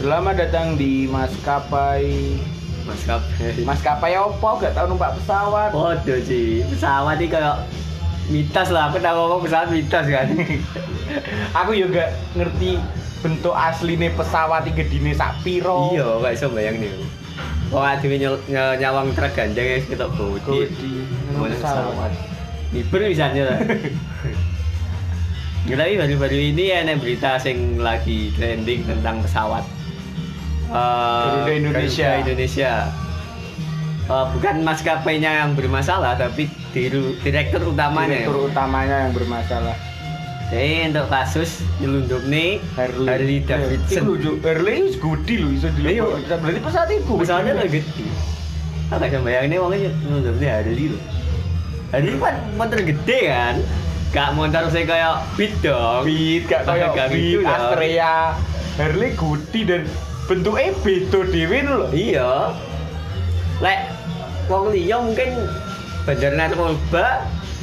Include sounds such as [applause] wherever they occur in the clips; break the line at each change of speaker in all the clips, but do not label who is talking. Selamat datang di maskapai
maskapai
maskapai opo gak tau numpak pesawat.
waduh sih pesawat ini kayak mitos lah aku tahu ngomong pesawat mitos kan
[laughs] Aku juga ngerti bentuk asline pesawat iki gedine sak piro.
iya gak bisa bayang nih Wong adewe nyel- nye- nyawang truk ganja guys ketok
Kodi
bodi.
ngono
Iya. Boleh
pesawat.
pesawat. Libur bisa [laughs] nyela. Tapi baru-baru ini ada berita sing lagi trending tentang pesawat. Eh,
Garuda Indonesia.
Garuda Indonesia. Eh, bukan maskapainya yang bermasalah tapi diru- direktur utamanya.
Direktur utamanya yang bermasalah.
Jadi Eh, untuk kasus nyelundup nih
Harley, Eh,
Harley Davidson.
Iku lho, Cuk. Harley wis gede lho iso dilihat.
Iya.
Berarti pesawat iku.
Pesawatnya lah gede. Aku gak bayangin wongnya nyelundup nih Harley loh. Harley kan motor gede kan. Gak motor saya kayak beat dong.
Beat gak koyo
Gak
Beat
gitu, dong.
Astrea. Harley gede dan bentuknya beda dhewe lho.
Iya. Lek wong liya mungkin bandar narkoba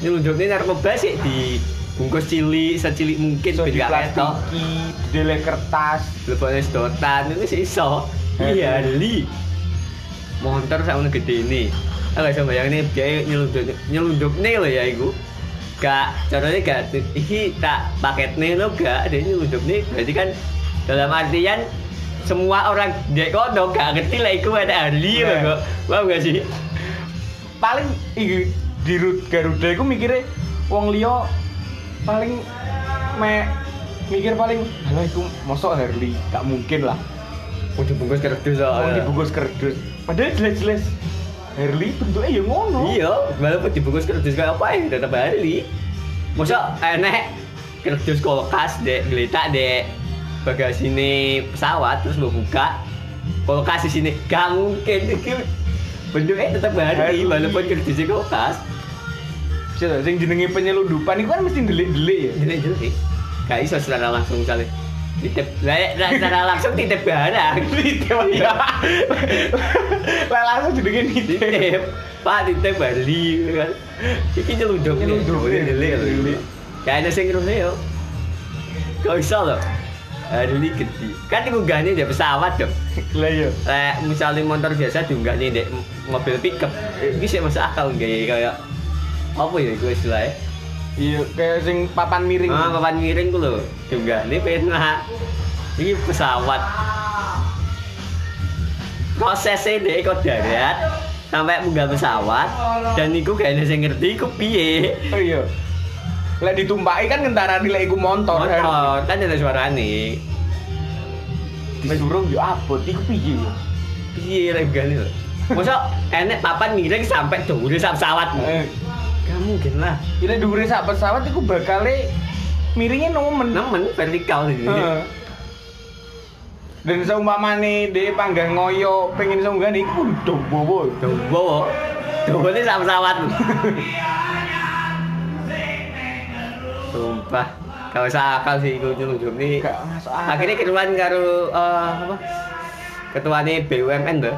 nyelundupne narkoba sih dibungkus cilik secilik mungkin
Iso
ben gak ketok.
diplastiki, dideleh kertas.
Lebone sedotan itu sih iso.
Eh,
Iya,
iya.
li. Montor sakmono gede ini. Aku gak bisa bayangin biaya nyelundup nyelundupne lho ya iku. Gak, caranya gak iki tak paketne lo gak dia nyelundupne berarti kan dalam artian semua orang dek kono gak ngerti lah iku ada ahli lho
Nah.
kok. Paham gak sih?
paling iki di Ru- Garuda iku mikire wong liya paling me mikir paling alah iku mosok Harley gak mungkin lah
Kudu bungkus kerdus
wong
soalnya.
dibungkus kerdus padahal jelas-jelas Harley bentuknya ya ngono
Iya, walaupun dibungkus kerdus kayak apa ya tetap ahli. Masa enek kerdus kulkas dek geletak dek bagasine pesawat terus mau buka kulkas di sini gak mungkin itu bentuknya tetap ahli
Ahli.
walaupun kerdusnya kulkas
Cil, sing jenenge penyelundupan iku kan mesti delik-delik ya
jelek jelek gak iso secara langsung kali titip lah lah, secara langsung titip barang titip
Iya. [laughs]
[laughs]
lah langsung jenenge nitip
titip pak titip Bali kan iki nyelundup
Nyelundup,
Boleh
ya.
delik, boleh delik. gak ada sing ngerti yo gak bisa loh Bali gede kan diunggahnya dia pesawat dong
lah iya
lek misalnya motor biasa diunggah nih dek mobil pickup ini sih masuk akal nggak ya kayak apa ya gue istilahnya
iya kayak sing papan miring
ah papan miring ku lho juga ini pena ini pesawat prosesnya deh kok darat sampai munggah pesawat dan niku gak ada yang ngerti ku piye
oh iya lah ditumpaki kan kentara lek iku montor Harley.
motor kan ada suara nih
disuruh yo abot iku piye ya? yo
piye lah gak lho masa enek papan miring sampai dulu sama pesawatmu
Eh,
gak mungkin lah
Ini dhuwure sak pesawat iku bakale miringnya nomen.
nemen vertikal ini
Heeh. Dan seumpamane de panggah ngoyo pengen iso munggah iku kudu bobo.
Dowo. Dowo ini sama pesawat. Sumpah. Gak usah akal sih itu nyelundup nih.
Gak masuk akal.
Akhirnya keruan karo eh, apa? Ketuane BUMN tuh,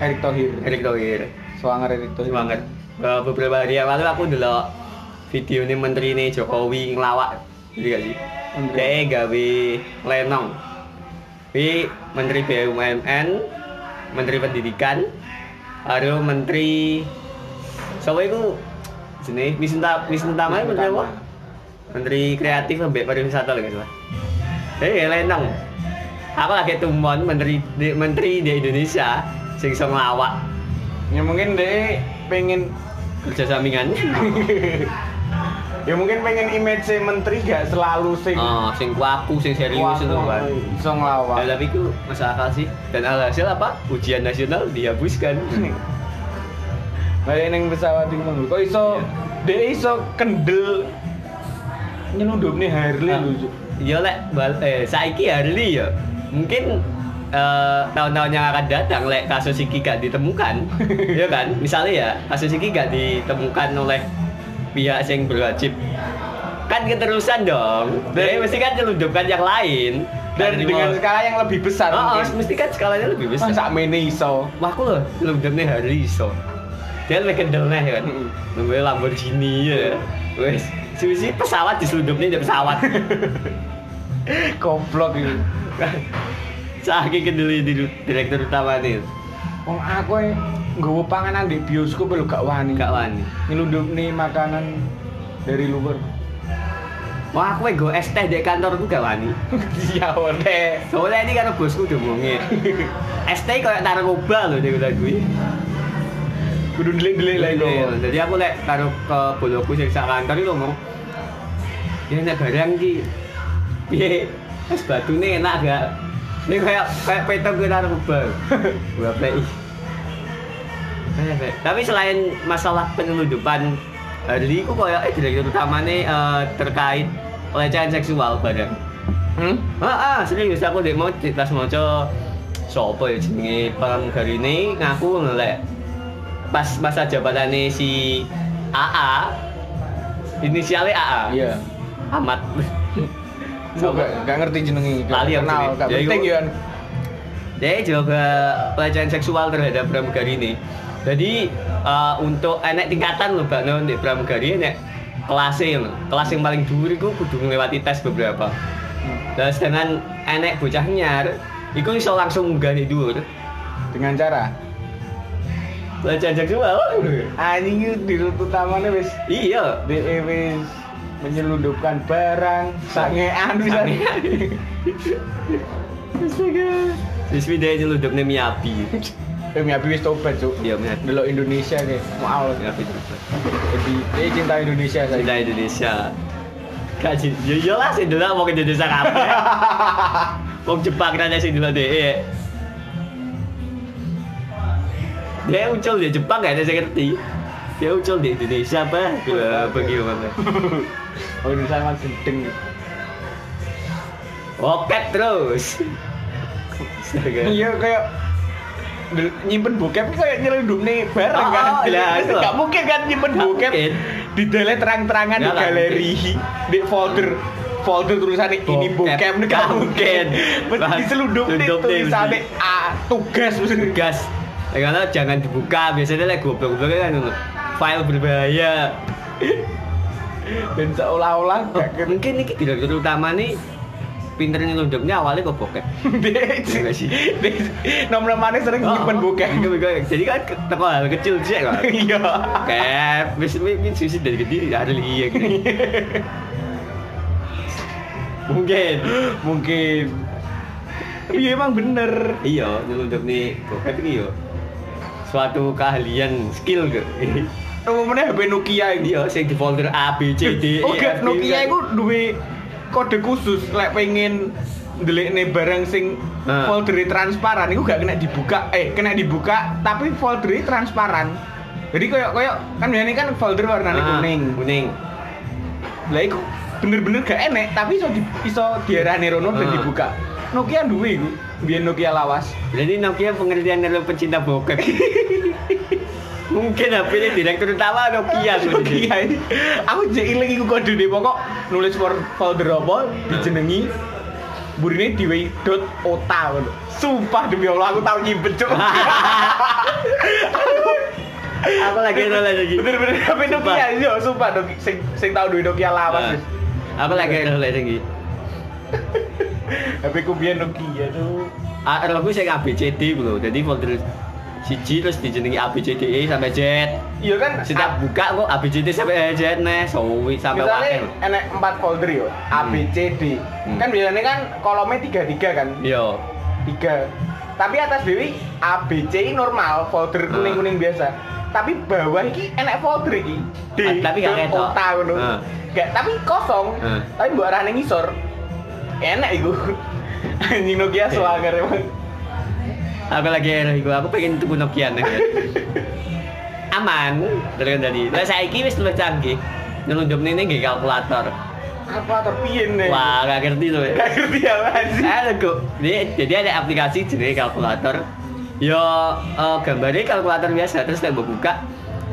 Erick Thohir.
Erick Thohir.
Swanger Erick Thohir.
Semangat. Eh, beberapa hari yang lalu aku delok video ini menteri ini Jokowi ngelawak gitu gak sih?
Menteri.
Dia gawe lenong. Wi menteri BUMN, menteri pendidikan, baru menteri Sopo iku jenenge Wisnta Wisnutama
Wisnu
iku menteri apa?
Tama.
Menteri kreatif ambek pariwisata lho salah. Eh lenong. Aku lagi tumon menteri di, menteri di Indonesia sing iso ngelawak
Ya mungkin de pengen
kerja sampingan. [laughs]
ya mungkin pengen image menteri gak selalu sing
Oh, sing aku sing serius itu kan.
waku, iso ngelawak.
Ya, tapi itu masalah akal sih. Dan alhasil apa? Ujian nasional
[laughs]
dihapuskan.
Kayak neng pesawat iku monggo. Kok iso
Iya.
de iso kendel nyelundup nih Harley
Ah,
lho. Cuk.
Ya lek bal eh saiki Harley ya. Mungkin eh, tahun-tahun yang akan datang lek kasus iki gak
[laughs]
ditemukan. ya kan? Misalnya ya, kasus iki gak ditemukan oleh pihak yang berwajib. Kan keterusan dong.
Dan-
Jadi mesti kan celundupkan yang lain.
Dan Ah,
Menerima-
dengan skala yang lebih besar
Oh, oh,
mungkin.
mesti kan skalanya lebih
Masa
besar.
sak mene iso.
Wah aku loh, lembemnya hari iso. Dia lebih kendel nih kan.
Mm.
Lembemnya Lamborghini ya. Wes, sih pesawat diselundupnya di pesawat.
Goblok iki.
saking kedeli di direktur utama nih
Wong aku e nggawa panganan di bioskop e lho gak wani.
gak wani
Nyelundupne makanan dari luar.
wah aku gue es teh di kantorku gak wani
Ya ore.
soalnya ini karena bosku udah ngomongin es teh kayak narkoba loh dia bilang gue
Kudu ndelik-ndelik lah iku.
Iya, jadi aku lek karo ke boloku sing sak kantor itu ngomong ya nek barang ki piye es batune enak gak ini kayak kayak petok ke narkoba gua play Kayak, kayak. tapi selain masalah penyelundupan hari itu kayak eh, direktur utamanya eh, terkait pelecehan seksual barang
Hmm?
Ah, ah, serius aku dek mau cerita moco sopo ya jenenge pramugari ini ngaku ngelek pas masa jabatannya si AA inisialnya AA
Iya.
Ahmad
Gua gak, gak ngerti jenenge. Gak
Lali aku
kenal,
ini.
gak
Ya,
penting
iku.
ya.
jadi juga pelecehan seksual terhadap pramugari ini jadi eh, untuk enek tingkatan loh mbak non di pramugari enek kelasnya loh. kelas yang paling dhuwur iku kudu melewati tes beberapa Terus dengan enek bocah nyar, iku iso langsung munggah di dhuwur.
Dengan cara
Belajar seksual.
anjing itu di rut utamane wis
Iya.
DE e wis menyelundupkan barang sangean bisa.
Sangean.
[laughs]
Astaga. Wis pindah nyelundupne Miyabi.
Eh Miyabi wis tobat, Cuk.
Iya, Miyabi.
Delok Indonesia ke. Mau
Miyabi.
Jadi, dia cinta Indonesia saya.
Cinta Indonesia. Gak cinta. Ya iyalah sing delok wong Indonesia kabeh. Wong Jepang kan sing delok dhek. Dia muncul di Jepang gak ada yang ngerti. Dia muncul di Indonesia apa? Bagaimana?
Oh, [laughs] Indonesia emang gendeng.
Oket terus. Astaga.
Iya, kayak del- nyimpen bokep itu kayak nyelundup nih bareng
Oh,
kan.
oh, iya, itu.
Gak mungkin kan nyimpen
Nggak
bokep
mungkin.
di delete terang-terangan di
Nggak lah,
galeri, di folder folder tulisannya ini
Bokep.
bokep ini gak
Nggak
mungkin.
mungkin.
Mesti
Wah,
diselundup nih
selundup nih,
tulisannya
mesti.
A tugas mesti.
Gas. Karena jangan dibuka, biasanya lek goblok-goblok kan ngono. file berbahaya.
Dan seolah-olah
Oh,
gak
[laughs]
kena. [laughs]
mungkin ini direktur utama nih pinternya ngelundupnya awalnya kok bokep.
Dia-
Iya nggak sih?
dia- nomor-nomornya sering nyimpen bokep.
Iya, iya. Jadi kan ke- teko hal kecil sih kan.
[laughs] Iya.
Bokep, wis mungkin sisi dari gede ya, ada lagi ya. gitu.
[laughs]
Mungkin.
Mungkin. Tapi emang bener.
Iya, nyelundup nih bokep iki yo. Suatu keahlian skill gitu.
Nomornya HP Nokia ini.
[laughs] Iya, sing di folder A B C D E.
[laughs] Oh gak
F, G,
Nokia
kan.
itu duwe kode khusus lek pengen ndelikne barang sing
Nah.
folder transparan itu gak kena dibuka eh kena dibuka tapi folder transparan jadi koyok koyok kan biasanya kan folder warnanya
Ah,
kuning
Kuning.
lah itu bener-bener gak enek tapi iso di, iso diarahne rono dan
Ah.
dibuka Nokia duwe iku biyen Nokia lawas
Jadi Nokia pengertian dari pecinta bokep. [laughs] Mungkin HP ini direktur utama Nokia tuh.
Nokia ini aku jek ilang iku kode deh pokok nulis for- folder apa dijenengi burine diwe dot ota ngono. Sumpah demi Allah aku tau nyimpen cuk.
Ah. Aku
[laughs]
lagi nulis lagi.
Bener-bener HP Nokia
Sumpah.
yo sumpah Nokia sing sing tau duwe Nokia lawas. wis.
Ah, Aku lagi nulis lagi.
HP ku biyen Nokia tuh.
Ah, Aku sing A B C D lho. Jadi folder siji terus dijenengi A B C D E sampai Z.
Iya kan
Setiap buka kok A B C D sampai Z neh, sowi sampai
Misalnya
wakil.
enek 4 folder yo, A B C D.
Hmm.
Kan biasanya kan kolomnya tiga-tiga kan.
Iya.
tiga tapi atas dewi A B C ini normal folder
Ah.
kuning kuning biasa tapi bawah ini enak folder ini
Ah, tapi gak ketok.
kota ngono.
Ah.
gak tapi kosong
Ah.
tapi buat arahnya ngisor enak iku [laughs] anjing Nokia
Oke.
suagar emang
Aku lagi gue, aku pengen tuku Nokia nih. ya. Aman, dari tadi. Lah saiki wis luwih canggih. Nyelundup ini nggih kalkulator.
apa terpiin nih
Wah, gak ngerti tuh. ya.
gak ngerti ya, apa sih
Ada kok. Jadi, jadi ada aplikasi jenis kalkulator. Yo, eh, gambarnya kalkulator biasa. Terus nek mbok buka,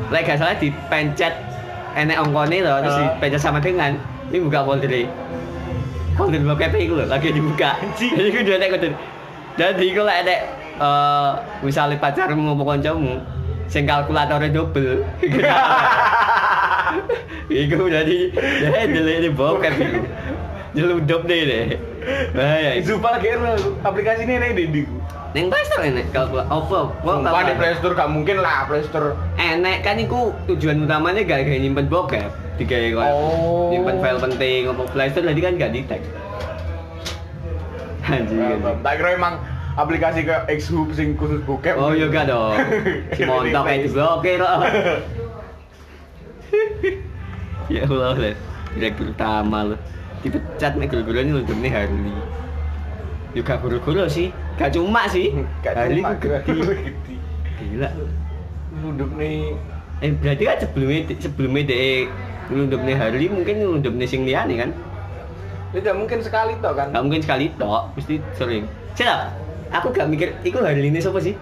lek gak salah dipencet enek ongkone loh, terus
Ah.
dipencet sama dengan ini buka folder folder bokep itu loh lagi dibuka [laughs] jadi gue udah kudu jadi gue lek nek eh, misalnya pacarmu mau kancamu sing kalkulatornya double iku jadi jadi dilihat di ya, bokep itu Nyeludup deh deh. Bahaya. itu.
Zupa lagi error. aplikasi ini nih di ku.
Neng Play Store enek kalau gua opo, gua
Sumpah,
tahu.
di Play Store gak mungkin lah Play Store.
Enek kan iku tujuan utamanya gak kayak nyimpen bokep, digawe koyo
Oh.
nyimpen file penting opo Play Store jadi kan gak di tag. Anjing. anjing.
Eh, Tak kira emang aplikasi ke Xhub sing khusus bokep.
Oh iya
[laughs]
gak dong. Si montok kayak diblokir loh. ya Allah lah. Direktur utama lo. Dipecat nih guru-guru ini untuk nih Harli. Juga guru-guru sih. Gak cuma sih. Harli ku Nah, gede. Gila.
Nunduk nih.
Eh berarti kan sebelumnya sebelumnya deh ngelundup nih Harli mungkin ngelundup nih sing liane kan.
Ini gak mungkin sekali toh kan.
Gak mungkin sekali tok. Mesti sering. Siapa? Aku gak mikir. Iku Harli ini siapa sih?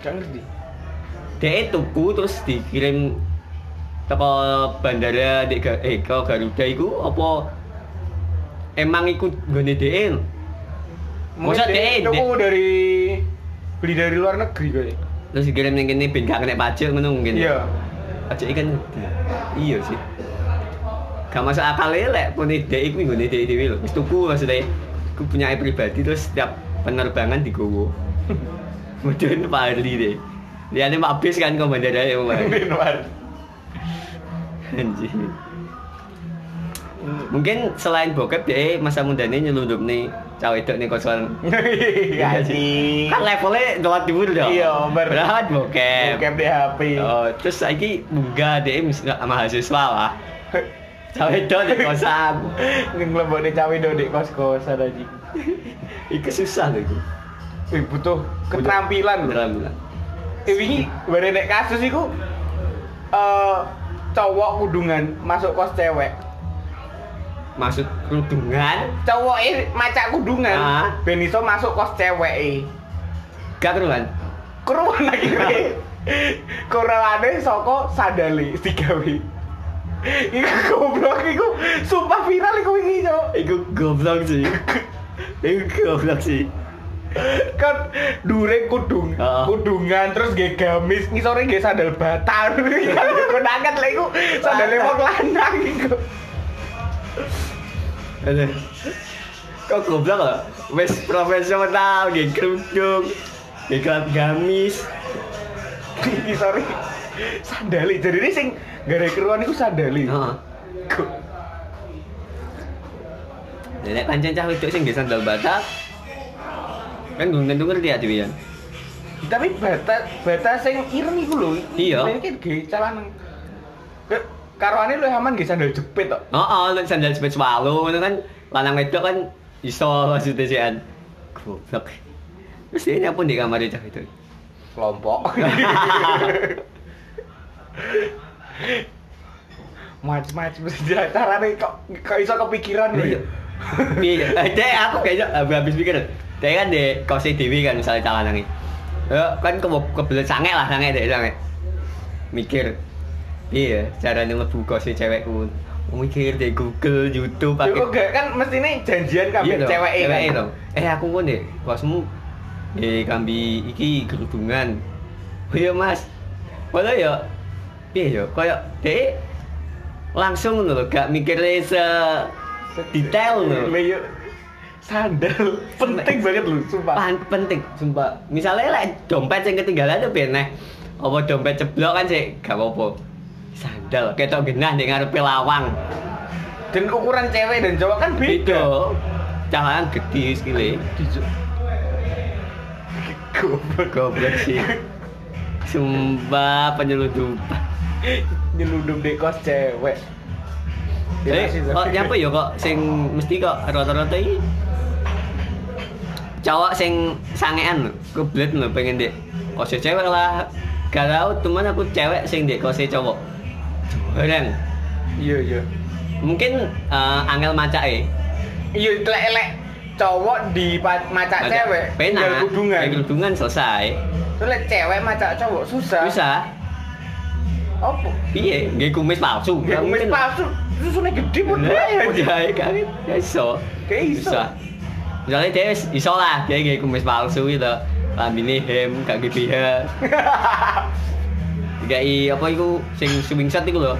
Gak ngerti.
dia tuku terus dikirim teko bandara di Ga- eh ke Garuda iku apa emang ikut gone DE
Mungkin
Maksud
dia
dia-
tuku dari beli dari luar negeri kayaknya.
terus dikirim ning kene ben gak kena pajak ngono mungkin
Iya.
pajak ikan gede. iya sih gak masuk akal ya lek pune DE iku nggone DE dhewe lho wis tuku maksudnya iku punya pribadi terus setiap penerbangan digowo [laughs] Kemudian Pak Arli deh Lihatnya Pak Bis kan ke bandara ya Pak
[laughs] Di luar.
Anjir Mungkin selain bokep deh masa mudanya nyelundup nih cawe itu nih kosong.
Iya sih.
Kan levelnya dolat dulu dong.
Iya, bener.
Berat bokep.
Bokep di HP.
Oh, terus lagi bunga deh misalnya mahasiswa lah. Cawe itu nih kosan.
Ning lebone cawe do dek kos-kosan aja.
Iku Kan susah loh itu.
Eh butuh keterampilan.
Keterampilan.
Eh wingi bare nek kasus iku eh cowok kudungan masuk kos cewek.
Maksud kerudungan
Cowok e macak kudungan
Ah.
ben iso masuk kos cewek e.
gak keruan.
Keruan lagi re. Korelane saka sadali digawe. Iku goblok iku sumpah viral iku wingi cok.
Iku goblok sih. Iku goblok sih.
kan dure kudung
Heeh.
kudungan terus nggih gamis ngisore nggih sandal bata gunakan lha [laughs] iku sandale wong lanang iku
Aduh. Kok goblok loh? Wes profesional, gak kerudung, gak kelap gamis.
ngisore sandali jadi ini sing gara keruan iku sandali
Heeh.
Go-
Nek pancen cah wedok sing nggih sandal batak. Kan gue tentu ngerti ya dhewean.
tapi bata bata sing ireng iku lho
Iya.
iki nggih calan Ke- karoane lu aman nggih sandal jepit tok
Heeh, lek sandal sepeda swalo ngono kan lanang wedok kan iso maksudnya sih kan. Goblok. Wis ini apa di kamar cah itu?
kelompok macam-macam carane kok kok iso kepikiran lho ya?
Iya, Eh, Dek, aku kayaknya habis, habis pikir. Dek kan di kose dewi kan misalnya calon nangi. Ya kan ke kebelet sange lah sange dek sange. Mikir. Iya, cara ngelebu kose cewekku. Mikir di Google, YouTube,
[laughs] Yo kok gak kan mesti nih janjian kabeh
iya. dong,
cewek kan.
ceweke dong. Eh aku ngono deh, kosmu eh kambi iki kerudungan. Oh iya Mas. Padahal ya piye ya koyo dek langsung ngono lho, gak mikirnya se detail ngono.
Lah yo sandal penting banget lho sumpah.
Pan- penting sumpah misalnya lek dompet yang ketinggalan tuh biar neh apa dompet ceblok kan sih gak apa-apa sandal ketok genah ning ngarepe lawang
Dan ukuran cewek dan cowok kan beda.
itu cahayan gede sekali
Dijo- Goblok
goblok sih sumpah penyeludupan
nyeludup di kos cewek. Iya,
eh kok nyapa ya kok sing mesti kok rata-rata ini cowok sing sangean lho kebelet lho pengen dek kose cewek lah gak tau cuman aku cewek sing dek kose cowok Bareng.
Iya iya.
mungkin eh, angel maca eh
Iya elek-elek cowok di pa- macak cewek
pena
tinggal kudungan.
Tinggal kudungan selesai
Terus lek cewek macak cowok susah.
susah
Opo?
piye Iya, nggih kumis palsu
Gak mungkin palsu. Susune gede pun
Lah,
aja.
jahe kan gak iso.
Gak iso.
Susah. Misalnya dia wis iso lah, dia kayak kumis palsu gitu. Lambine hem, gak gede ya. Gak i apa iku sing swing set iku lho.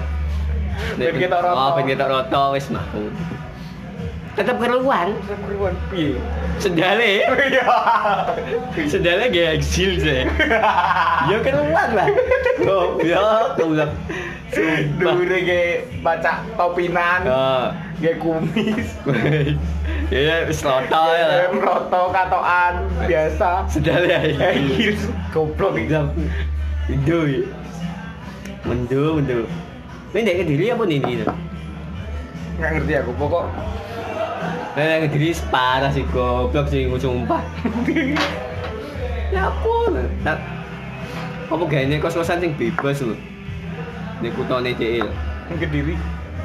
Ben ketok roto.
Oh, ben ketok roto wis mah. tetap keruan
Tetep keruan piye?
sendale
Iya.
sendale gak eksil sih ya keruan lah kok ya kau bilang sumpah
Dure ge baca topinan,
Oh.
ge kumis.
ya ya sloto
Ah,
ya lah
Em roto katokan biasa.
sendale ya
Eh, heels. goblok iki.
Jam. Indo ya. Mendo, mendo. Ini dari Kediri apa nih ini?
Nggak ngerti aku pokok [laughs]
Nah, dari Kediri separah sih goblok sih gue sumpah. ya ampun. Tak apa gayanya kos-kosan sing bebas lho. Ning kutone DE. lho.
Yang kediri.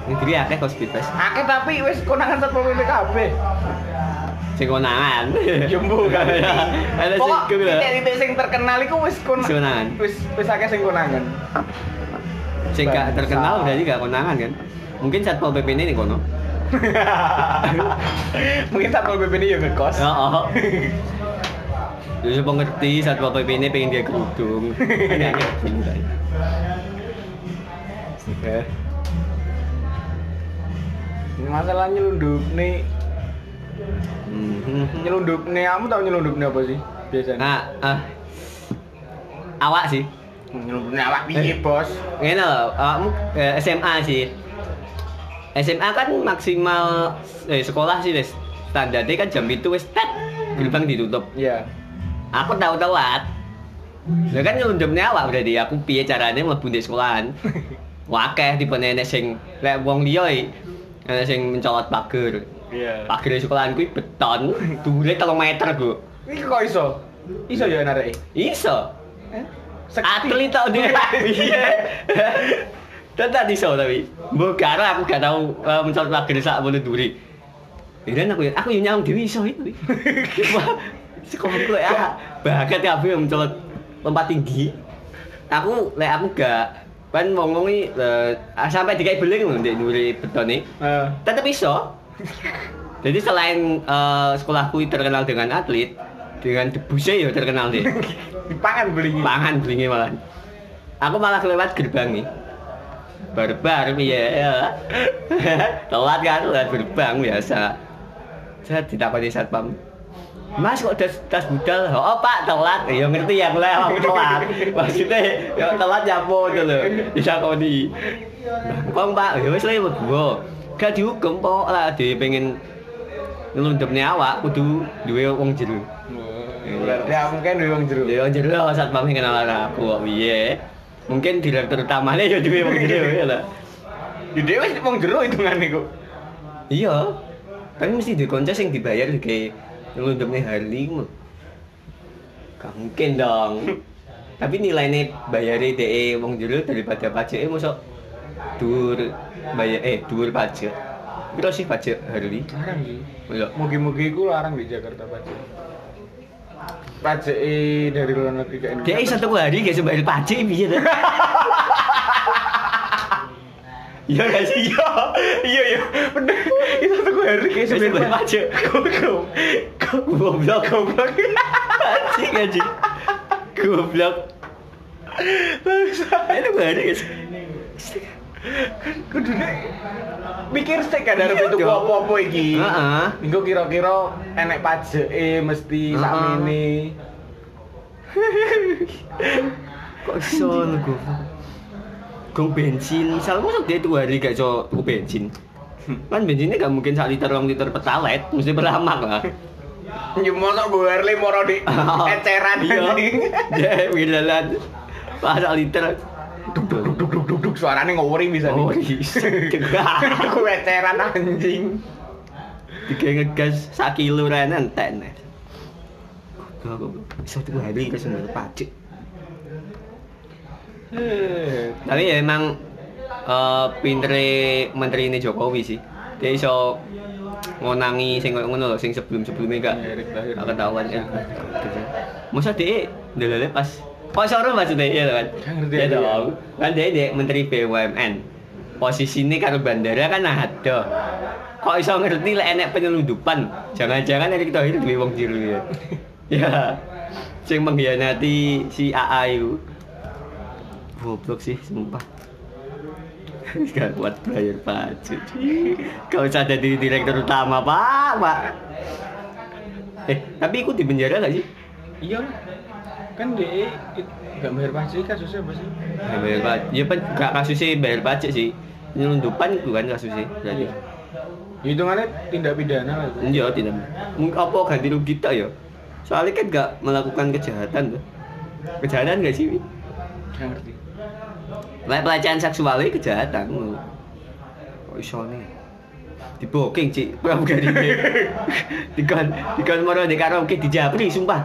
Ning Kediri akeh kos bebas.
Akeh tapi wis konangan satpol PP kabeh.
Sing konangan.
[laughs]
[laughs]
Jumbo kan.
Iya. Ada gitu sing
Pokok
kuwi lho.
titik-titik sing terkenal iku wis kon
Sing konangan.
wis wis akeh sing konangan.
Sing gak
Bangsa.
terkenal berarti gak konangan kan. Mungkin Satpol PP ini nih kono.
[laughs] Mungkin satpol PP ini ya ngekos.
Oh, oh. [laughs] Jadi saya pengerti saat bapak ini pengen dia kerudung. Aneh-aneh kerudung, kan. Ya.
Oke. Masalah nyelundup nih,
Mhm.
nyelundup nih, kamu tahu nyelundup nih apa sih biasanya?
Nah, ah. awak sih.
Nyelundup nih awak
Eh.
piye bos?
Ngene loh, awakmu eh, SMA sih. SMA kan maksimal eh, sekolah sih, Des. Standarnya kan jam itu wis tet gerbang ditutup.
Iya.
Aku tahu telat. Lah kan nyelundupnya awak berarti aku piye carane mlebu ndek sekolahan. Wakeh tipe nenek sing lek wong liya iki, nenek sing mencolot pagar.
Iya.
Pagar sekolahan kuwi beton, dhuwure 3 meter, Bu.
Ini kok iso? Iso ya narik?
Iso.
Eh?
Atlet tok dia. [laughs] Iya. Tetap iso tapi. Mbok karo aku gak tau eh, mencolot pagar sak mulu dhuwure. Iren aku aku yo nyawang dhewe iso itu. Wah, Sekolah kuwi ah, bakat kabeh yang mencolot lompat tinggi. Aku lek aku gak kan wong wong iki eh, sampai dikai beling lho ndek dhuwure betone.
Eh, [laughs]
Tetep iso. Jadi selain eh, sekolahku terkenal dengan atlet, dengan debusnya ya terkenal deh.
dipangan beli ini.
Pangan belinya malah. Aku malah kelewat gerbang nih. Barbar ya. ya. [laughs] telat kan, telat gerbang biasa. Saya ditakoni satpam. Mas kok das, tas budal? Oh pak telat, ya ngerti yang lah aku telat. Maksudnya ya telat ya apa itu loh, ditakoni. Kong pak, ya wes lah ya gua. Gak dihukum kok lah, dia pengen ngelundupnya awak, kudu duwe wong jero.
Berarti aku kan duwe wong jero.
Ya jero lah satpam sing kenal aku kok piye. Mungkin direktur utamanya ya duwe wong jero ya lah.
Di dhewe wis wong jero hitungane kok.
Iya. Tapi mesti duwe konco sing dibayar juga ngelundupne Harley mu. Gak mungkin dong. Tapi nilainya bayarnya DE wong jero daripada pajaknya mosok dur bayar eh dur pajak. Kira sih pajak Harley.
Larang sih.
Iya.
Mugi-mugi ku larang di Jakarta pajak. Pajak dari luar negeri ke Indonesia.
Dia satu hari gak sembayar pajak piye ta? Iya gak sih?
iya iya iya bener itu tuh gue hari kayak
Kayak
sebenarnya
sebenarnya.
aja goblok
Goblok
goblok
anjing anjing goblok
bangsa
itu gak ada guys
kudune mikir sih kan dari
Iya
itu
dong.
apa apa iki
Heeh.
minggu kira-kira enek pajak mesti sak
Heeh.
ini
kok iso lu goblok Gong bensin, misal masa dia tuh hari gak iso tuku bensin kan bensinnya gak mungkin sak liter rong liter petalet mesti beramak lah
nyumon kok gue hari moro di
[laughs]
[laughs] eceran
iya
anjing.
ya wilalan pas sak liter
duk duk duk duk duk duk duk suaranya ngori bisa
oh
nih
iya
[laughs] aku eceran anjing
tiga ngegas sak kilo rene entek nih satu hari itu sembar pacik tapi ya emang eh pintere menteri ini Jokowi sih dia iso ngonangi sing koyo ngono lho sing sebelum-sebelumnya gak
Ya, Erick Thohir.
gak ketahuan ya masa dia ndelele pas kok sore maksudnya ya kan
Kan ngerti
ya
aku, ya.
dong kan dia dia menteri BUMN posisi ini karo bandara kan ada kok iso ngerti lek enek penyelundupan jangan-jangan Erick Thohir duwe wong jero
[laughs]
ya ya sing mengkhianati si AA itu goblok sih sumpah [laughs] Gak kuat bayar pajak. Kau usah jadi direktur utama, Pak, Pak. Eh, tapi ikut di penjara gak sih?
iya lah. kan dia nggak bayar pajak kasusnya apa sih
Gak bayar pajak. Ya, pan, gak kasusnya bayar pajak sih. Penyelundupan itu kan kasusnya. Berarti.
Iya. hitungannya tindak pidana lah itu.
Iya, tidak. Mungkin apa ganti rugi tak ya? Soalnya kan gak melakukan kejahatan tuh. Kejahatan gak sih? Wi?
nggak ngerti
Lah pelecehan seksual itu kejahatan. lho. Kok iso ne? Diboking, Cik. [laughs] Pramugari. dikon dikon moro nek karo ki dijapri, sumpah.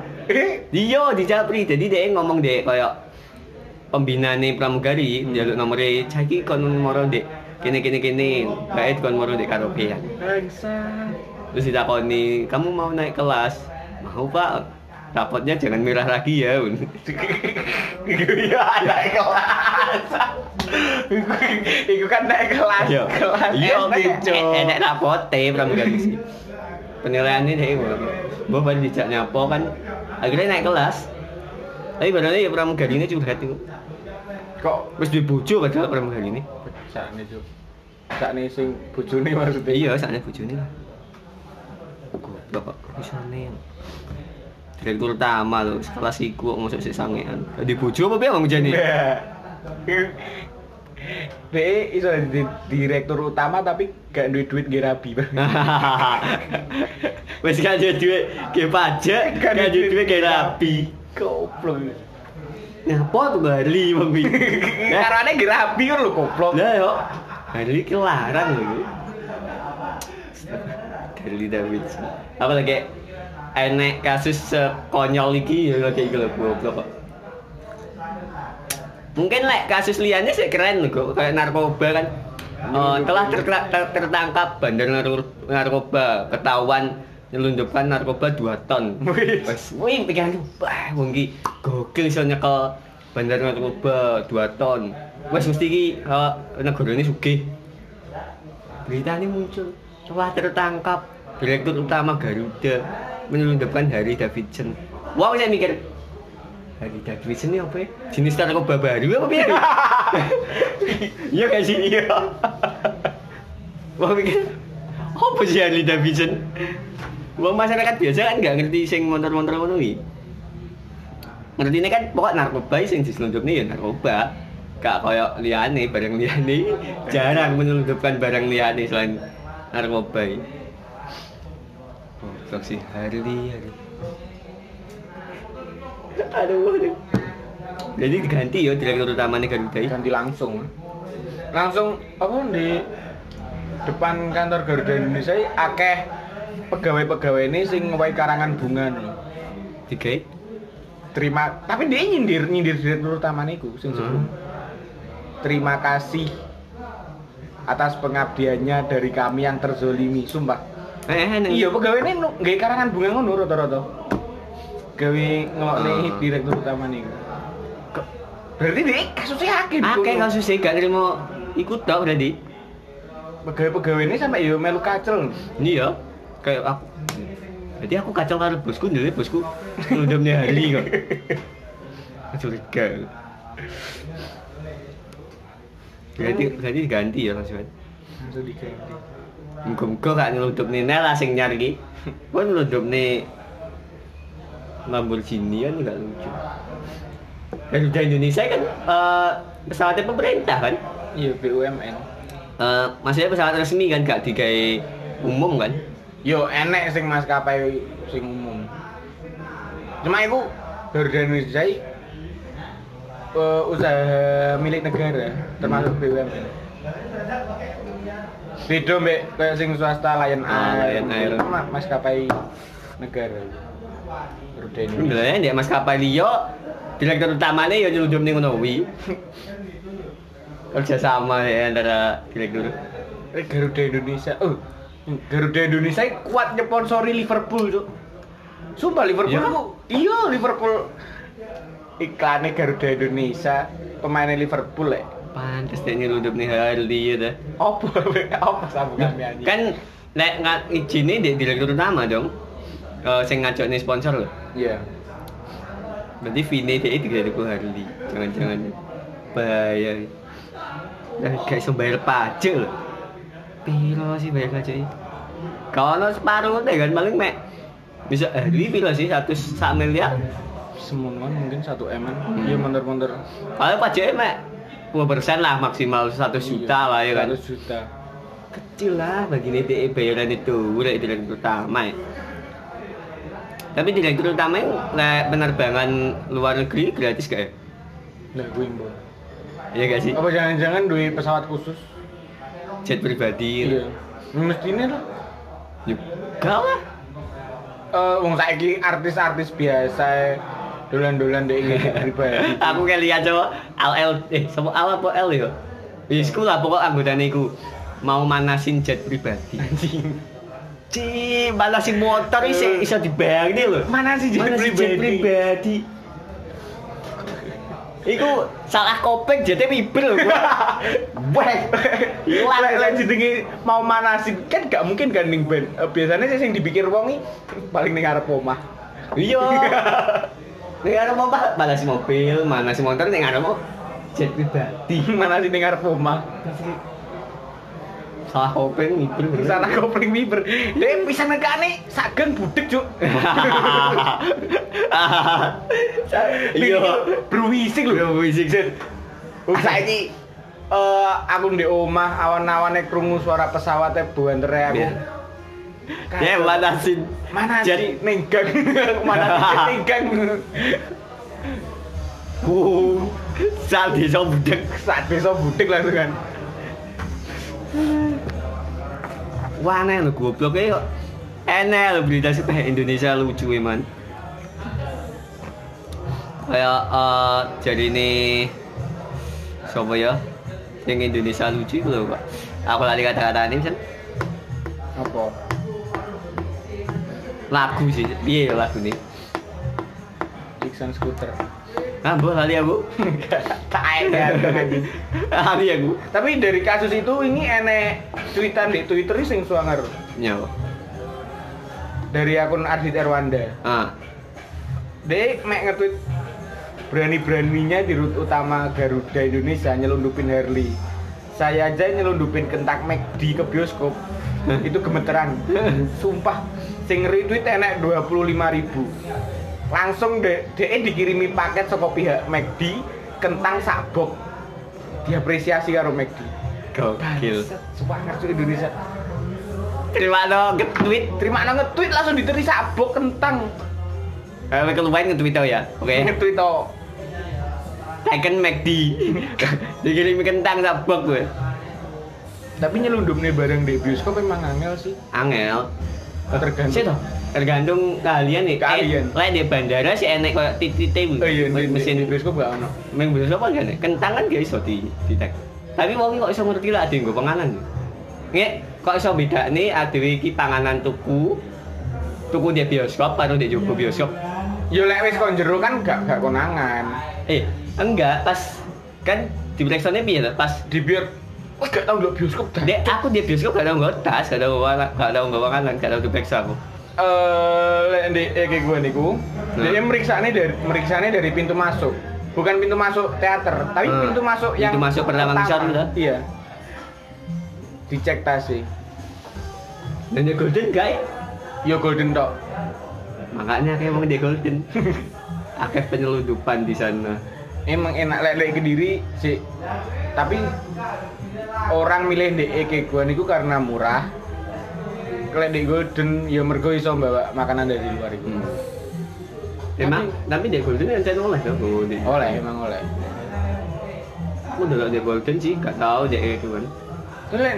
Iya, dijapri. Jadi dia ngomong dek koyo pembinane pramugari njaluk nomere caki kon moro dek kene kene kene baik kon moro dek karaokean
Bangsa.
terus ditakoni kamu mau naik kelas mau pak rapotnya jangan merah lagi ya
Iya, naik kelas. Iku kan naik kelas,
Iya,
kelas Eh,
iya,
SD,
Cuk.
Cuk.
Enak rapote pramugari sih. Penilaiannya deh, mbok ban dijak nyapo kan. Akhirnya naik kelas. Tapi badannya ya pramugari ini curhat itu.
Kok
Wis duwe bojo padahal pramugari ini.
sakne, Cuk. Sakne sing bojone maksudnya.
Iya, sakne bojone lah. Goblok kok isane. Direktur utama lho, sekelas iku kok masuk sik sangean. Di bojo apa piye ngomong jane?
Iya. Dia iso jadi direktur utama tapi gak duit duit gak rabi
[laughs] Wis gak duwe duit, ge pajak, gak duwe duit ge rapi.
[laughs] Goblok.
Ngapa tuh Bali Bang [laughs] Wi? Eh,
Karena gak rabi kan lu goblok.
Lah yo. Bali ki larang lho. Wi. Bali David. Apa lagi enek kasus sekonyol iki ya lagi iki lho goblok kok. Mungkin lek kasus liannya sih keren lho kok kayak narkoba kan. Eh, telah terkera- ter- tertangkap bandar nar- narkoba ketahuan nyelundupkan narkoba 2 ton.
Wih.
Wes, wih pikiran tuh, wah wong iki gokil iso nyekel bandar narkoba 2 ton. Wes mesti iki eh, negara ini sugih. Berita ini muncul telah tertangkap direktur utama Garuda menyelundupkan Harry Davidson. Wah, saya mikir Harry Davidson ini apa ya? Jenis narkoba baru apa ya? [laughs] Iya gak sih? Iya. Wah mikir, apa sih Harley Davidson? Wah masyarakat biasa kan gak ngerti sing motor-motor ngono iki. Ngerti ini kan pokok narkoba sing diselundupne ya narkoba. Gak koyo liyane, barang liyane jarang menyelundupkan barang liyane selain narkoba. iki. Goblok sih Harley, Harley. Aduh, aduh. Jadi diganti ya direktur utamanya Garuda
iya.
iki.
ganti langsung langsung apa di depan kantor Garuda Indonesia ini akeh pegawai-pegawai ini sing ngewahi karangan bunga nih
Digawe
terima tapi dia nyindir nyindir direktur utama niku sing sebelum terima kasih atas pengabdiannya dari kami yang terzolimi sumpah
Eh, eh, neng.
iya pegawai ini nggak karangan bunga ngono rata-rata gawe ngelok
Ah.
direktur utama niku
Ke-
berarti dia kasusnya akeh
eh, Akeh
dulu.
kasus sih gak terima ikut tau berarti.
pegawai-pegawai ini sampai yo melu kacel
Ini ya kayak aku. Berarti aku kacau karo bosku dulu bosku ngundamnya hari kok. [laughs] Curiga. Berarti berarti diganti ya langsung.
langsung diganti
Muga-muga gak nyeludup nih Nela sing nyar iki. Kok nyeludup nih Lamborghini kan gak lucu. Garuda Indonesia kan eh, pesawatnya pemerintah kan?
iya BUMN
Eh, maksudnya pesawat resmi kan gak digawe umum kan?
yo enek sing maskapai sing umum cuma iku Garuda Indonesia iki, eh, usaha milik negara termasuk
Hmm.
BUMN beda mbek kayak sing swasta Lion
Ah,
Air
Lion Air.
Itu mah maskapai negara Garuda Indonesia
Sebenarnya dia maskapai liyo iya. direktur utamanya ya nyeludup nih ngono kuwi. Kerjasama ya antara direktur.
Eh, Garuda Indonesia oh Garuda Indonesia iki kuat nyponsori Liverpool cuk sumpah Liverpool
Iya.
aku iya Liverpool iklannya Garuda Indonesia pemainnya Liverpool lek
Pantes dia nyeludup nih Harley ya dah.
opo opo sambungan nyanyi
Kan lek nggak izin di direktur utama dong. Eh sing ngajak nih sponsor loh.
iya
Berarti Vini dia tidak ada Harley. Jangan-jangan bahaya. Dan gak iso bayar pajak lho. Piro sih bayar pajak iki? Kalau ono separuh deh kan paling mek bisa hari piro sih satu sak miliar.
semuanya mungkin satu m kan? Iya, dia monter-monter
Kalau pajaknya mek 10% lah maksimal 100 juta lah ya kan.
100 Iya. juta
kecil lah bagi DE bayaran itu udah direktur utama ya. tapi direktur utama yang lek penerbangan luar negeri gratis gak ya?
nah gue imbau
Iya gak sih?
apa jangan-jangan duit pesawat khusus
Jet pribadi
iya mesti ini lah
Yuk. Gak lah
Eh, wong saiki artis-artis biasa dolan-dolan dek
[laughs]
iki pribadi.
Aku kayak lihat coba LL Eh sama L apa L ya? Di sekolah pokok anggotanya iku Mau manasin jet pribadi
Anjing.
Ci, manasin motor isi, bisa dibayangin loh
Mana sih
Mana sih Eh. jet pribadi? Iku salah kopeng jadi miber loh. [laughs]
Wek.
Hilang.
Lek lek jenenge mau manasin kan gak mungkin kan ning band. Eh, biasanya sih sing dipikir wong iki paling ning arep omah.
[laughs] Iya. Ning arep apa? Mana si mobil, mana si motor ning arep apa? jet pribadi.
Di mana sih ning arep omah.
Salah kopeng miber.
Di sana kopling miber. Lek pisan nekane sageng budek, Cuk.
Iya.
Bruwising lho.
Iya, bisik.
Wong saiki eh aku ndek omah awan-awane krungu suara pesawate buantere aku.
Ya. Ya manasin.
Mana
jet.
sih ning gang? Mana sih ning gang?
Wuh. Sal desa budek.
Saat besok budek langsung kan.
Wah aneh lo goblok e kok. Enak lo berita sih Indonesia lucu ya man. Kayak eh jadi ini siapa ya? Yang Indonesia lucu itu loh pak. Aku lagi kata-kata ini misal
Apa?
lagu sih. Iya ya lagu nih.
Dixon [laughs] skuter.
Ah boleh lali aku. [laughs]
Tak ada anjing.
Lali aku.
Tapi dari kasus itu ini enek cuitan di Twitter sing suangar
Nyawa.
dari akun Ardit Erwanda.
Ah.
Dia mek nge-tweet berani-beraninya di rute utama Garuda Indonesia nyelundupin Harley. Saya aja nyelundupin kentak McD ke bioskop. itu gemeteran. Sumpah sing retweet enek 25.000 ribu Langsung de DE dikirimi paket saka pihak McD kentang sak box. Diapresiasi karo E McD.
Gokil.
Semangat cuy Indonesia.
Terima dong ke tweet.
Terima nang nge-tweet langsung diteri sak box kentang.
Kami keluarin Eh, nge-tweet tau ya. Oke.
Nge-tweet to.
Tekken McD [laughs] dikirim kentang sabok gue
Tapi nyelundupne barang di bioskop emang angel sih.
angel
Tergantung.
sih toh tergantung kalian nih
Keahlian.
eh, lek di bandara sih enek kayak titik titik
Oh iya, di,
mesin
di bioskop gak ono.
main bus apa gak nih kentang kan gak iso di di tag tapi wong kok iso ngerti lah ade nggo panganan nggih kok iso beda nih ade iki panganan tuku tuku di bioskop karo di
Iya.
jogo bioskop
Ya lek wis kon jero kan gak gak konangan.
eh enggak pas kan di Blackstone piye toh? pas
Di biar wah gak tau ndok bioskop dah.
Dek, aku di bioskop gak tau nggawa tas, gak tau bawa gak tau bawa kanan, gak tau tuh bags aku.
Eh lek ndek iki gua niku, dia meriksane dari meriksane dari pintu masuk. Bukan pintu masuk teater, tapi
Hmm.
pintu masuk yang
Pintu masuk pertama ngisor itu.
Iya. Dicek tas sih.
Dan dia golden guys.
Yo Ya, golden tok.
Makanya kayak emang dia golden. [laughs] Akeh penyelundupan di sana.
Emang enak lek lek Kediri sih. Tapi orang milih ndek E iki gua niku karena murah. Lek ndek golden ya mergo iso bawa makanan dari luar iku.
Hmm. Emang, tapi dia golden yang saya oleh dong. Golden.
Oleh emang oleh.
Aku udah dia golden sih, gak tau dia kayak gimana.
Terus lek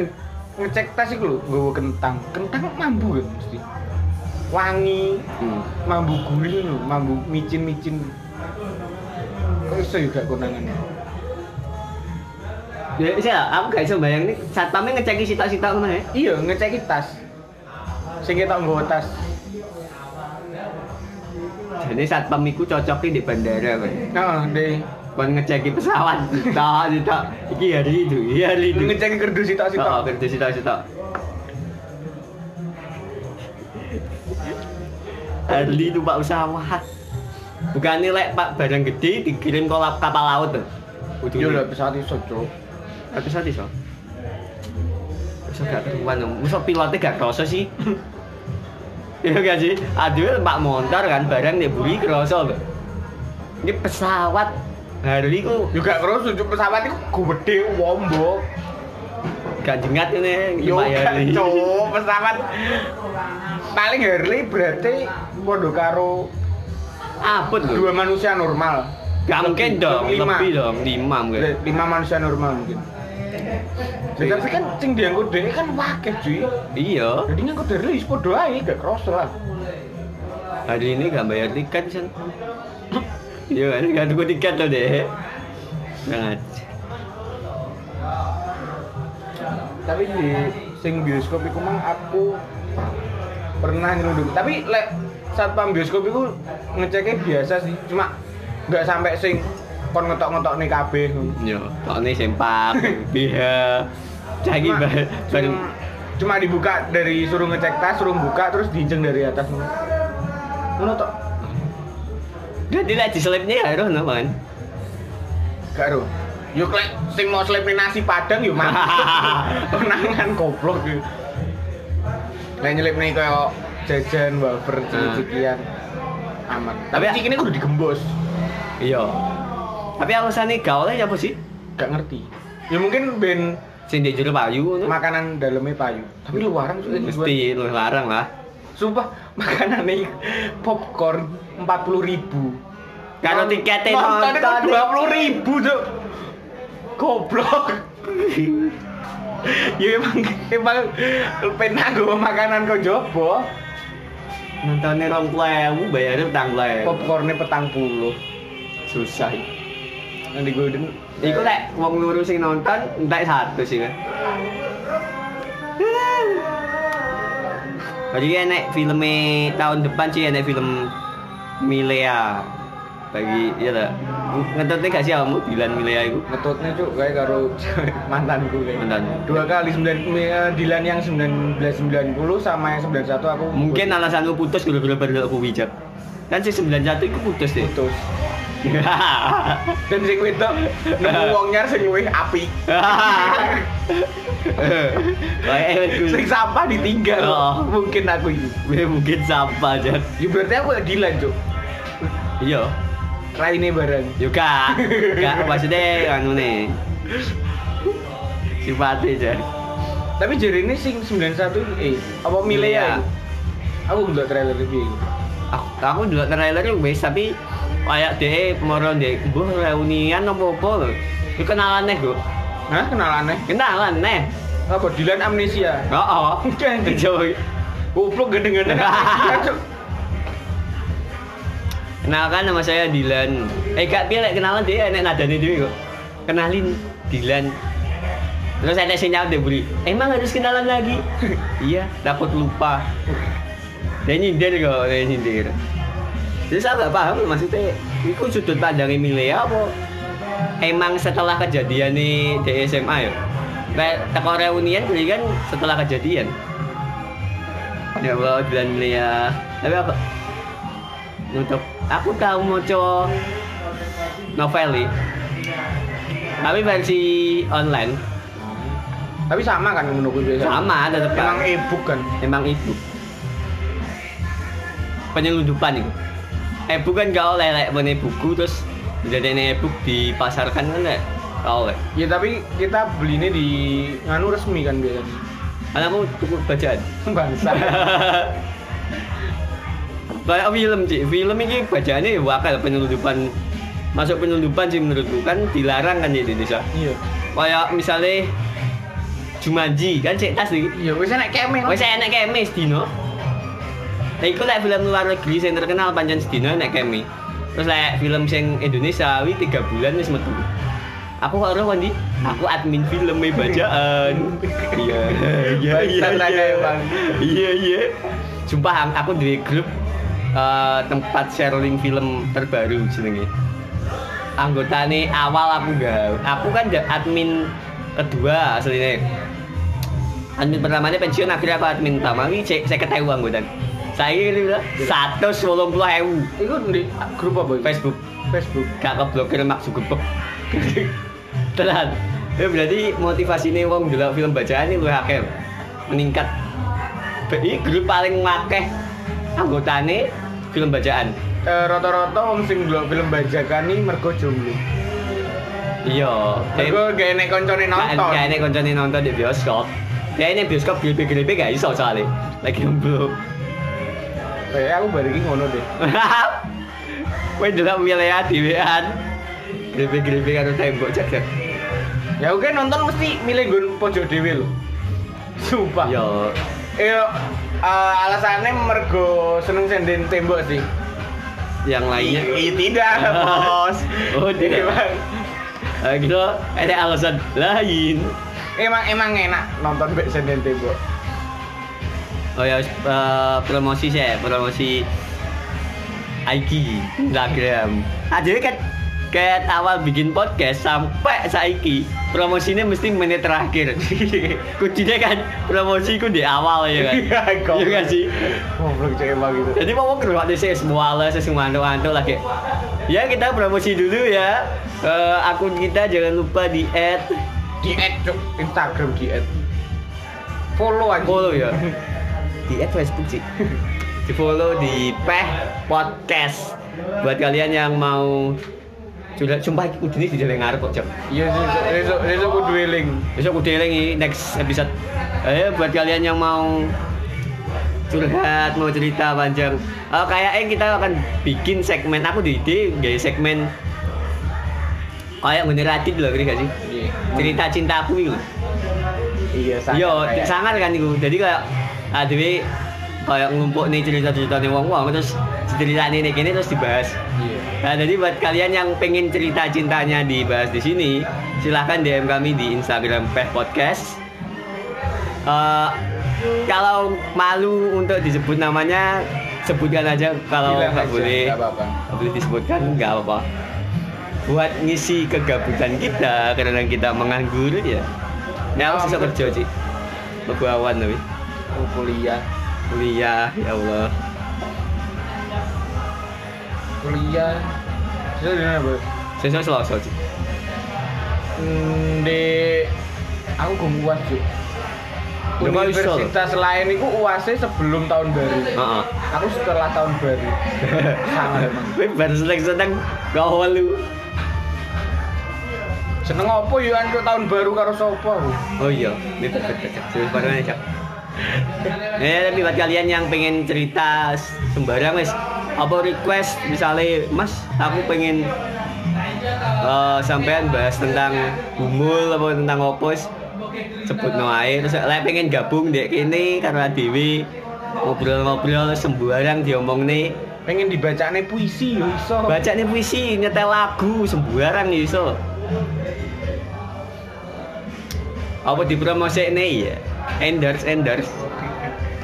ngecek tas iku lho, nggawa kentang. Kentang mambu kan mesti. Wangi,
Hmm.
mambu gurih lho, mambu micin-micin. Kok iso juga konangan.
Ya, saya, aku gak bisa bayangin satpamnya ngecek sitok-sitok mana ya.
Iya, ngecek tas. Sing ketok nggawa tas.
Jadi satpam itu cocoknya di bandara kan.
Nah, deh.
Kan ngecek pesawat, [laughs] sitok, sitok. Iki hari itu, iki hari itu.
Ngecek kerdus sitok
Sitok,
sitok.
kerja sitok-sitok. Arli numpak pesawat. Bukan nilai pak barang gede dikirim kolap kapal laut tuh.
Yo Iya,
Ujungnya.
lho pesawat iso, Cuk.
episode iso. Iso gak keruan dong. Masa pilotnya gak kerasa sih? [laughs] Iya gak sih? Aduh, pak motor kan barang nih buri kerasa lho. Ini pesawat Harley ku
juga terus untuk pesawat itu gede wombo
gak jengat ini
yo
Pak
gak,
Harley.
cowok pesawat paling Harley berarti podo karo
Apot lho.
dua manusia normal
Gak mungkin dong,
lima.
lebih dong, lima mungkin.
Le- lima manusia normal mungkin Ya, tapi kan sing diangkut dhewe kan wakil cuy
Iya,
jadi ngangkut Harley wis podo ae gak kerasa lah
hari ini gak bayar tiket kan. Iya kan, gak tunggu tiket loh deh. Sangat.
tapi di sing bioskop itu mang aku pernah nyelundup tapi lek saat pam bioskop itu ngeceknya biasa sih cuma nggak sampai sing kon ngetok-ngetok nih kabeh
Yo, soalnya sempak,
[laughs]
biha, cagi
Cuma-
bar, bar.
cuma, cuma dibuka dari suruh ngecek tas suruh buka terus diinjeng dari atas ngono tok
Dia tidak diselipnya ya harus naman.
gak ro yuk lek sing mau selipin nasi padang yuk mah tenangan goblok yuk lek nyelip nih kayak jajan wafer ciki-cikian aman tapi
Tapi-
ciki ini kudu digembos
Iya. Tapi alasannya gaulnya apa sih?
gak ngerti ya mungkin ben
Sing di juru payu, no?
makanan dalamnya payu tapi lu warang sudah dibuat
mesti lu larang lah.
sumpah [laughs] makanan nih popcorn 40.000 ribu
Karo tiketnya
nonton itu
nonton.
20.000 ribu tuh goblok [laughs] ya emang emang penak gue makanan kau jopo
Nontonnya rong klewu, bayarnya petang klewu.
popcornnya petang puluh
Susah.
nanti gue den
Iku lek wong loro sing nonton entek satu sih kan. Jadi enek filmnya tahun depan sih enek film Milea bagi ya lah ngentutnya gak sih kamu Dilan Milea itu
ngetutnya cuk kayak karo [laughs] cewek mantanku kayak
Mantan.
dua kali 9 eh, Dilan yang 1990 sama yang 91 aku
mungkin alasan lu putus gara-gara baru aku bijak kan si 91 itu putus deh [laughs]
putus dan sing wedok
[laughs]
nemu wong nyar sing luwih api sing
Kayak
sampah ditinggal
Eh, Oh.
mungkin aku itu
mungkin sampah aja
ya berarti aku gak dilan cuk
iya
raine bareng
juga gak maksudnya anu nih sifatnya aja
tapi jari ini sing 91 eh apa milih ya
Milea.
itu? aku nggak trailer eh. review
aku, aku dulu trailernya wes tapi kayak deh moro deh gue reunian apa apa lho itu kenalan nih gue
Hah? kenal aneh
kenalan nih
apa Dilan amnesia
oh oh jauh
goblok gede-gede
[laughs]
amnesia, Cuk.
kenalkan nama saya Dilan eh gak pilih kenalan deh enak nadanya dulu kok kenalin Dilan terus ada sinyal deh buri emang harus kenalan lagi [laughs] iya takut lupa dia nyindir kok dia nyindir terus aku gak paham maksudnya itu sudut pandangnya Milea apa emang setelah kejadian nih di SMA ya kayak teko reunian jadi kan setelah kejadian ya Allah Dilan Milea tapi apa nutup aku tahu moco noveli tapi versi online
tapi sama kan menurutku biasa
sama tetap
emang ebook kan
Emang itu. Penyelundupan itu. E-book kan gak oleh lek mene buku terus jadi e-book dipasarkan kan lek. Gak oleh.
ya tapi kita belinya di nganu resmi kan biasanya
Kan aku cukup bacaan. [laughs]
bangsa
Kayak film sih, film ini bacaannya ya wakal penyelundupan masuk penyelundupan sih menurutku kan dilarang kan di Indonesia.
iya
Kayak misalnya Jumanji kan cek tas nih.
iya wis enak keme
Wes enak kemi sedino. Lah iku lek film luar negeri sing terkenal pancen sedino enak kemi. Terus lek film sing Indonesia wi 3 bulan wis metu. Aku kok ora kondi, aku admin film e bacaan. Iya, iya, iya.
Bangsat lah
iya.
kayak bang.
Iya, iya. Sumpah aku di grup eh, tempat sharing film terbaru jenenge. Anggotane awal aku gak, aku kan admin kedua aslinya admin pertamanya pensiun akhirnya aku admin pertama ini cek saya ketahui anggota saya ini bilang satu sebelum puluh ewu
itu di grup apa itu?
Facebook
Facebook
[laughs] gak keblokir mak Zuckerberg telan ya berarti motivasi nih wong dulu film bacaan ini lu akeh meningkat BI grup paling akeh anggotane film bacaan
Eh, rata-rata om sing ndelok film bajakan iki mergo jomblo.
iya
Mergo gak enek koncone nonton.
Kayak ini koncone nonton di bioskop. Ya ini bioskop gilipe-gilipe gak iso soalnya. Lagi [laughs] jomblo.
Kayak Eh, aku bari iki ngono deh.
Wih dulu milih ya diwean. Gilipe-gilipe karo tembok cek cek.
Ya oke nonton mesti milih nggon pojok dhewe lho. [laughs] Sumpah.
Yo.
Iya, eh, alasannya mergo seneng senden tembok sih.
Yang lainnya.
Iya tidak, [laughs] bos.
Oh,
Ini,
tidak.
Bang.
Eh, gitu ada alasan lain.
Emang emang enak nonton bek senden tembok.
Oh ya eh, promosi sih promosi IG Instagram. Ah jadi kan kayak awal bikin podcast sampai saiki promosinya mesti menit terakhir. [laughs] Kuncinya kan promosiku di awal
[laughs]
ya kan.
goblok.
Iya kan sih. Iya.
Goblok cek emang gitu.
Jadi mau keluar di sini semua lah, semua antuk lagi. Ya kita promosi dulu ya. Eh, akun kita jangan lupa di add
Diet cok, Instagram diet. Follow aja.
follow ya. Di add Facebook sih. Di follow di Peh Podcast. Buat kalian yang mau sudah sumpah iki kudune di jalan ngarep kok, Jam.
Iya sih, besok besok aku dueling.
Besok kudu eling iki next episode. Eh buat kalian yang mau curhat, mau cerita panjang. Oh, kayaknya kita akan bikin segmen aku di ide guys segmen kayak meneratit loh, ngerti gak sih? Cerita cintaku itu.
Iya, sangat
Yo,
kayak.
sangat kan itu. Jadi kayak adewe kayak ngumpuk nih cerita-cerita nih wong-wong terus cerita nih kini terus dibahas.
Iya.
Nah, jadi buat kalian yang pengen cerita cintanya dibahas di sini, silahkan DM kami di Instagram Peh Podcast. Eh, kalau malu untuk disebut namanya, sebutkan aja kalau
Bilang
nggak
aja,
boleh,
nggak apa-apa.
nggak boleh disebutkan nggak apa-apa. Buat ngisi kegabutan kita karena kita menganggur ya. Nah, aku
Nganggur.
sisa kerja sih. Begawan tapi
Aku Oh, kuliah.
kuliah ya Allah.
Kuliah. Besok di mana, Bu?
Saya selalu sih.
Hmm, di aku gak UAS, Cuk.
Lho, kok iso?
Universitas lain itu UAS-nya sebelum tahun baru.
Heeh.
Aku setelah tahun [laughs] baru. Sangat emang.
Kowe baru seneng-seneng gak walu.
Seneng apa yo antuk tahun baru karo sapa aku?
Oh iya, ini betul-betul. Terus baru aja. Eh, tapi buat kalian yang pengen cerita sembarang wes apa request misalnya Mas aku pengen eh sampean bahas tentang gumul apa tentang opos sebut no air terus lek pengen gabung dek kene karo Dewi ngobrol-ngobrol sembarang diomong nih
Pengen dibacane puisi yo iso.
baca nih puisi nyetel lagu sembarang ya iso apa di promosi ini ya endorse endorse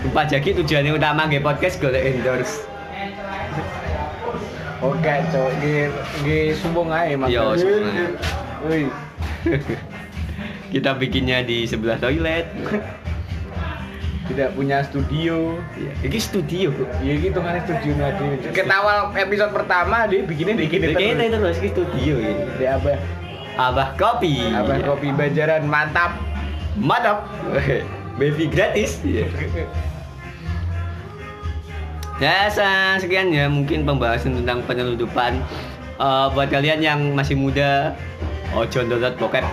Sumpah Jaki tujuannya utama nge podcast golek endorse
Oke, cok. Nggih, nggih sumbung ae Mas.
Iya, sumbung ae.
Woi.
kita bikinnya di sebelah toilet
Tidak punya studio.
Iya. ini studio bro
Ya iki tongane studio nadi. Ketawal episode pertama dia bikinnya di kene
Bikinnya
terus.
terus ini studio ini
Di apa?
Abah Kopi
Abang kopi Banjaran mantap.
Mantap [laughs] Baby gratis Iya. Ya, sa- sekian ya mungkin pembahasan tentang penyelundupan Eh, buat kalian yang masih muda, ojo download bokep.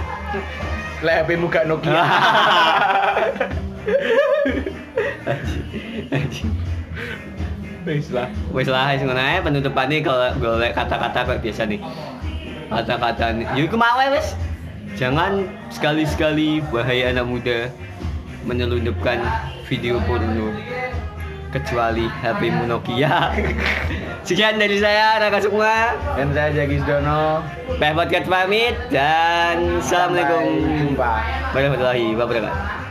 Lah HP-mu gak
[laughs]
Nokia. [laughs] Wis lah.
Wes lah, sing ngono ae penutupannya kalau golek kata-kata kayak biasa nih. Kata-kata nih. Yuk mau ae, wes. Jangan sekali-sekali bahaya anak muda menyelundupkan video porno kecuali HP Nokia. [laughs] Sekian dari saya Raka Sukma.
Dan saya Jagis Dono.
Peh Podcast pamit dan
Sampai
Assalamualaikum
Jumpa.
warahmatullahi wabarakatuh.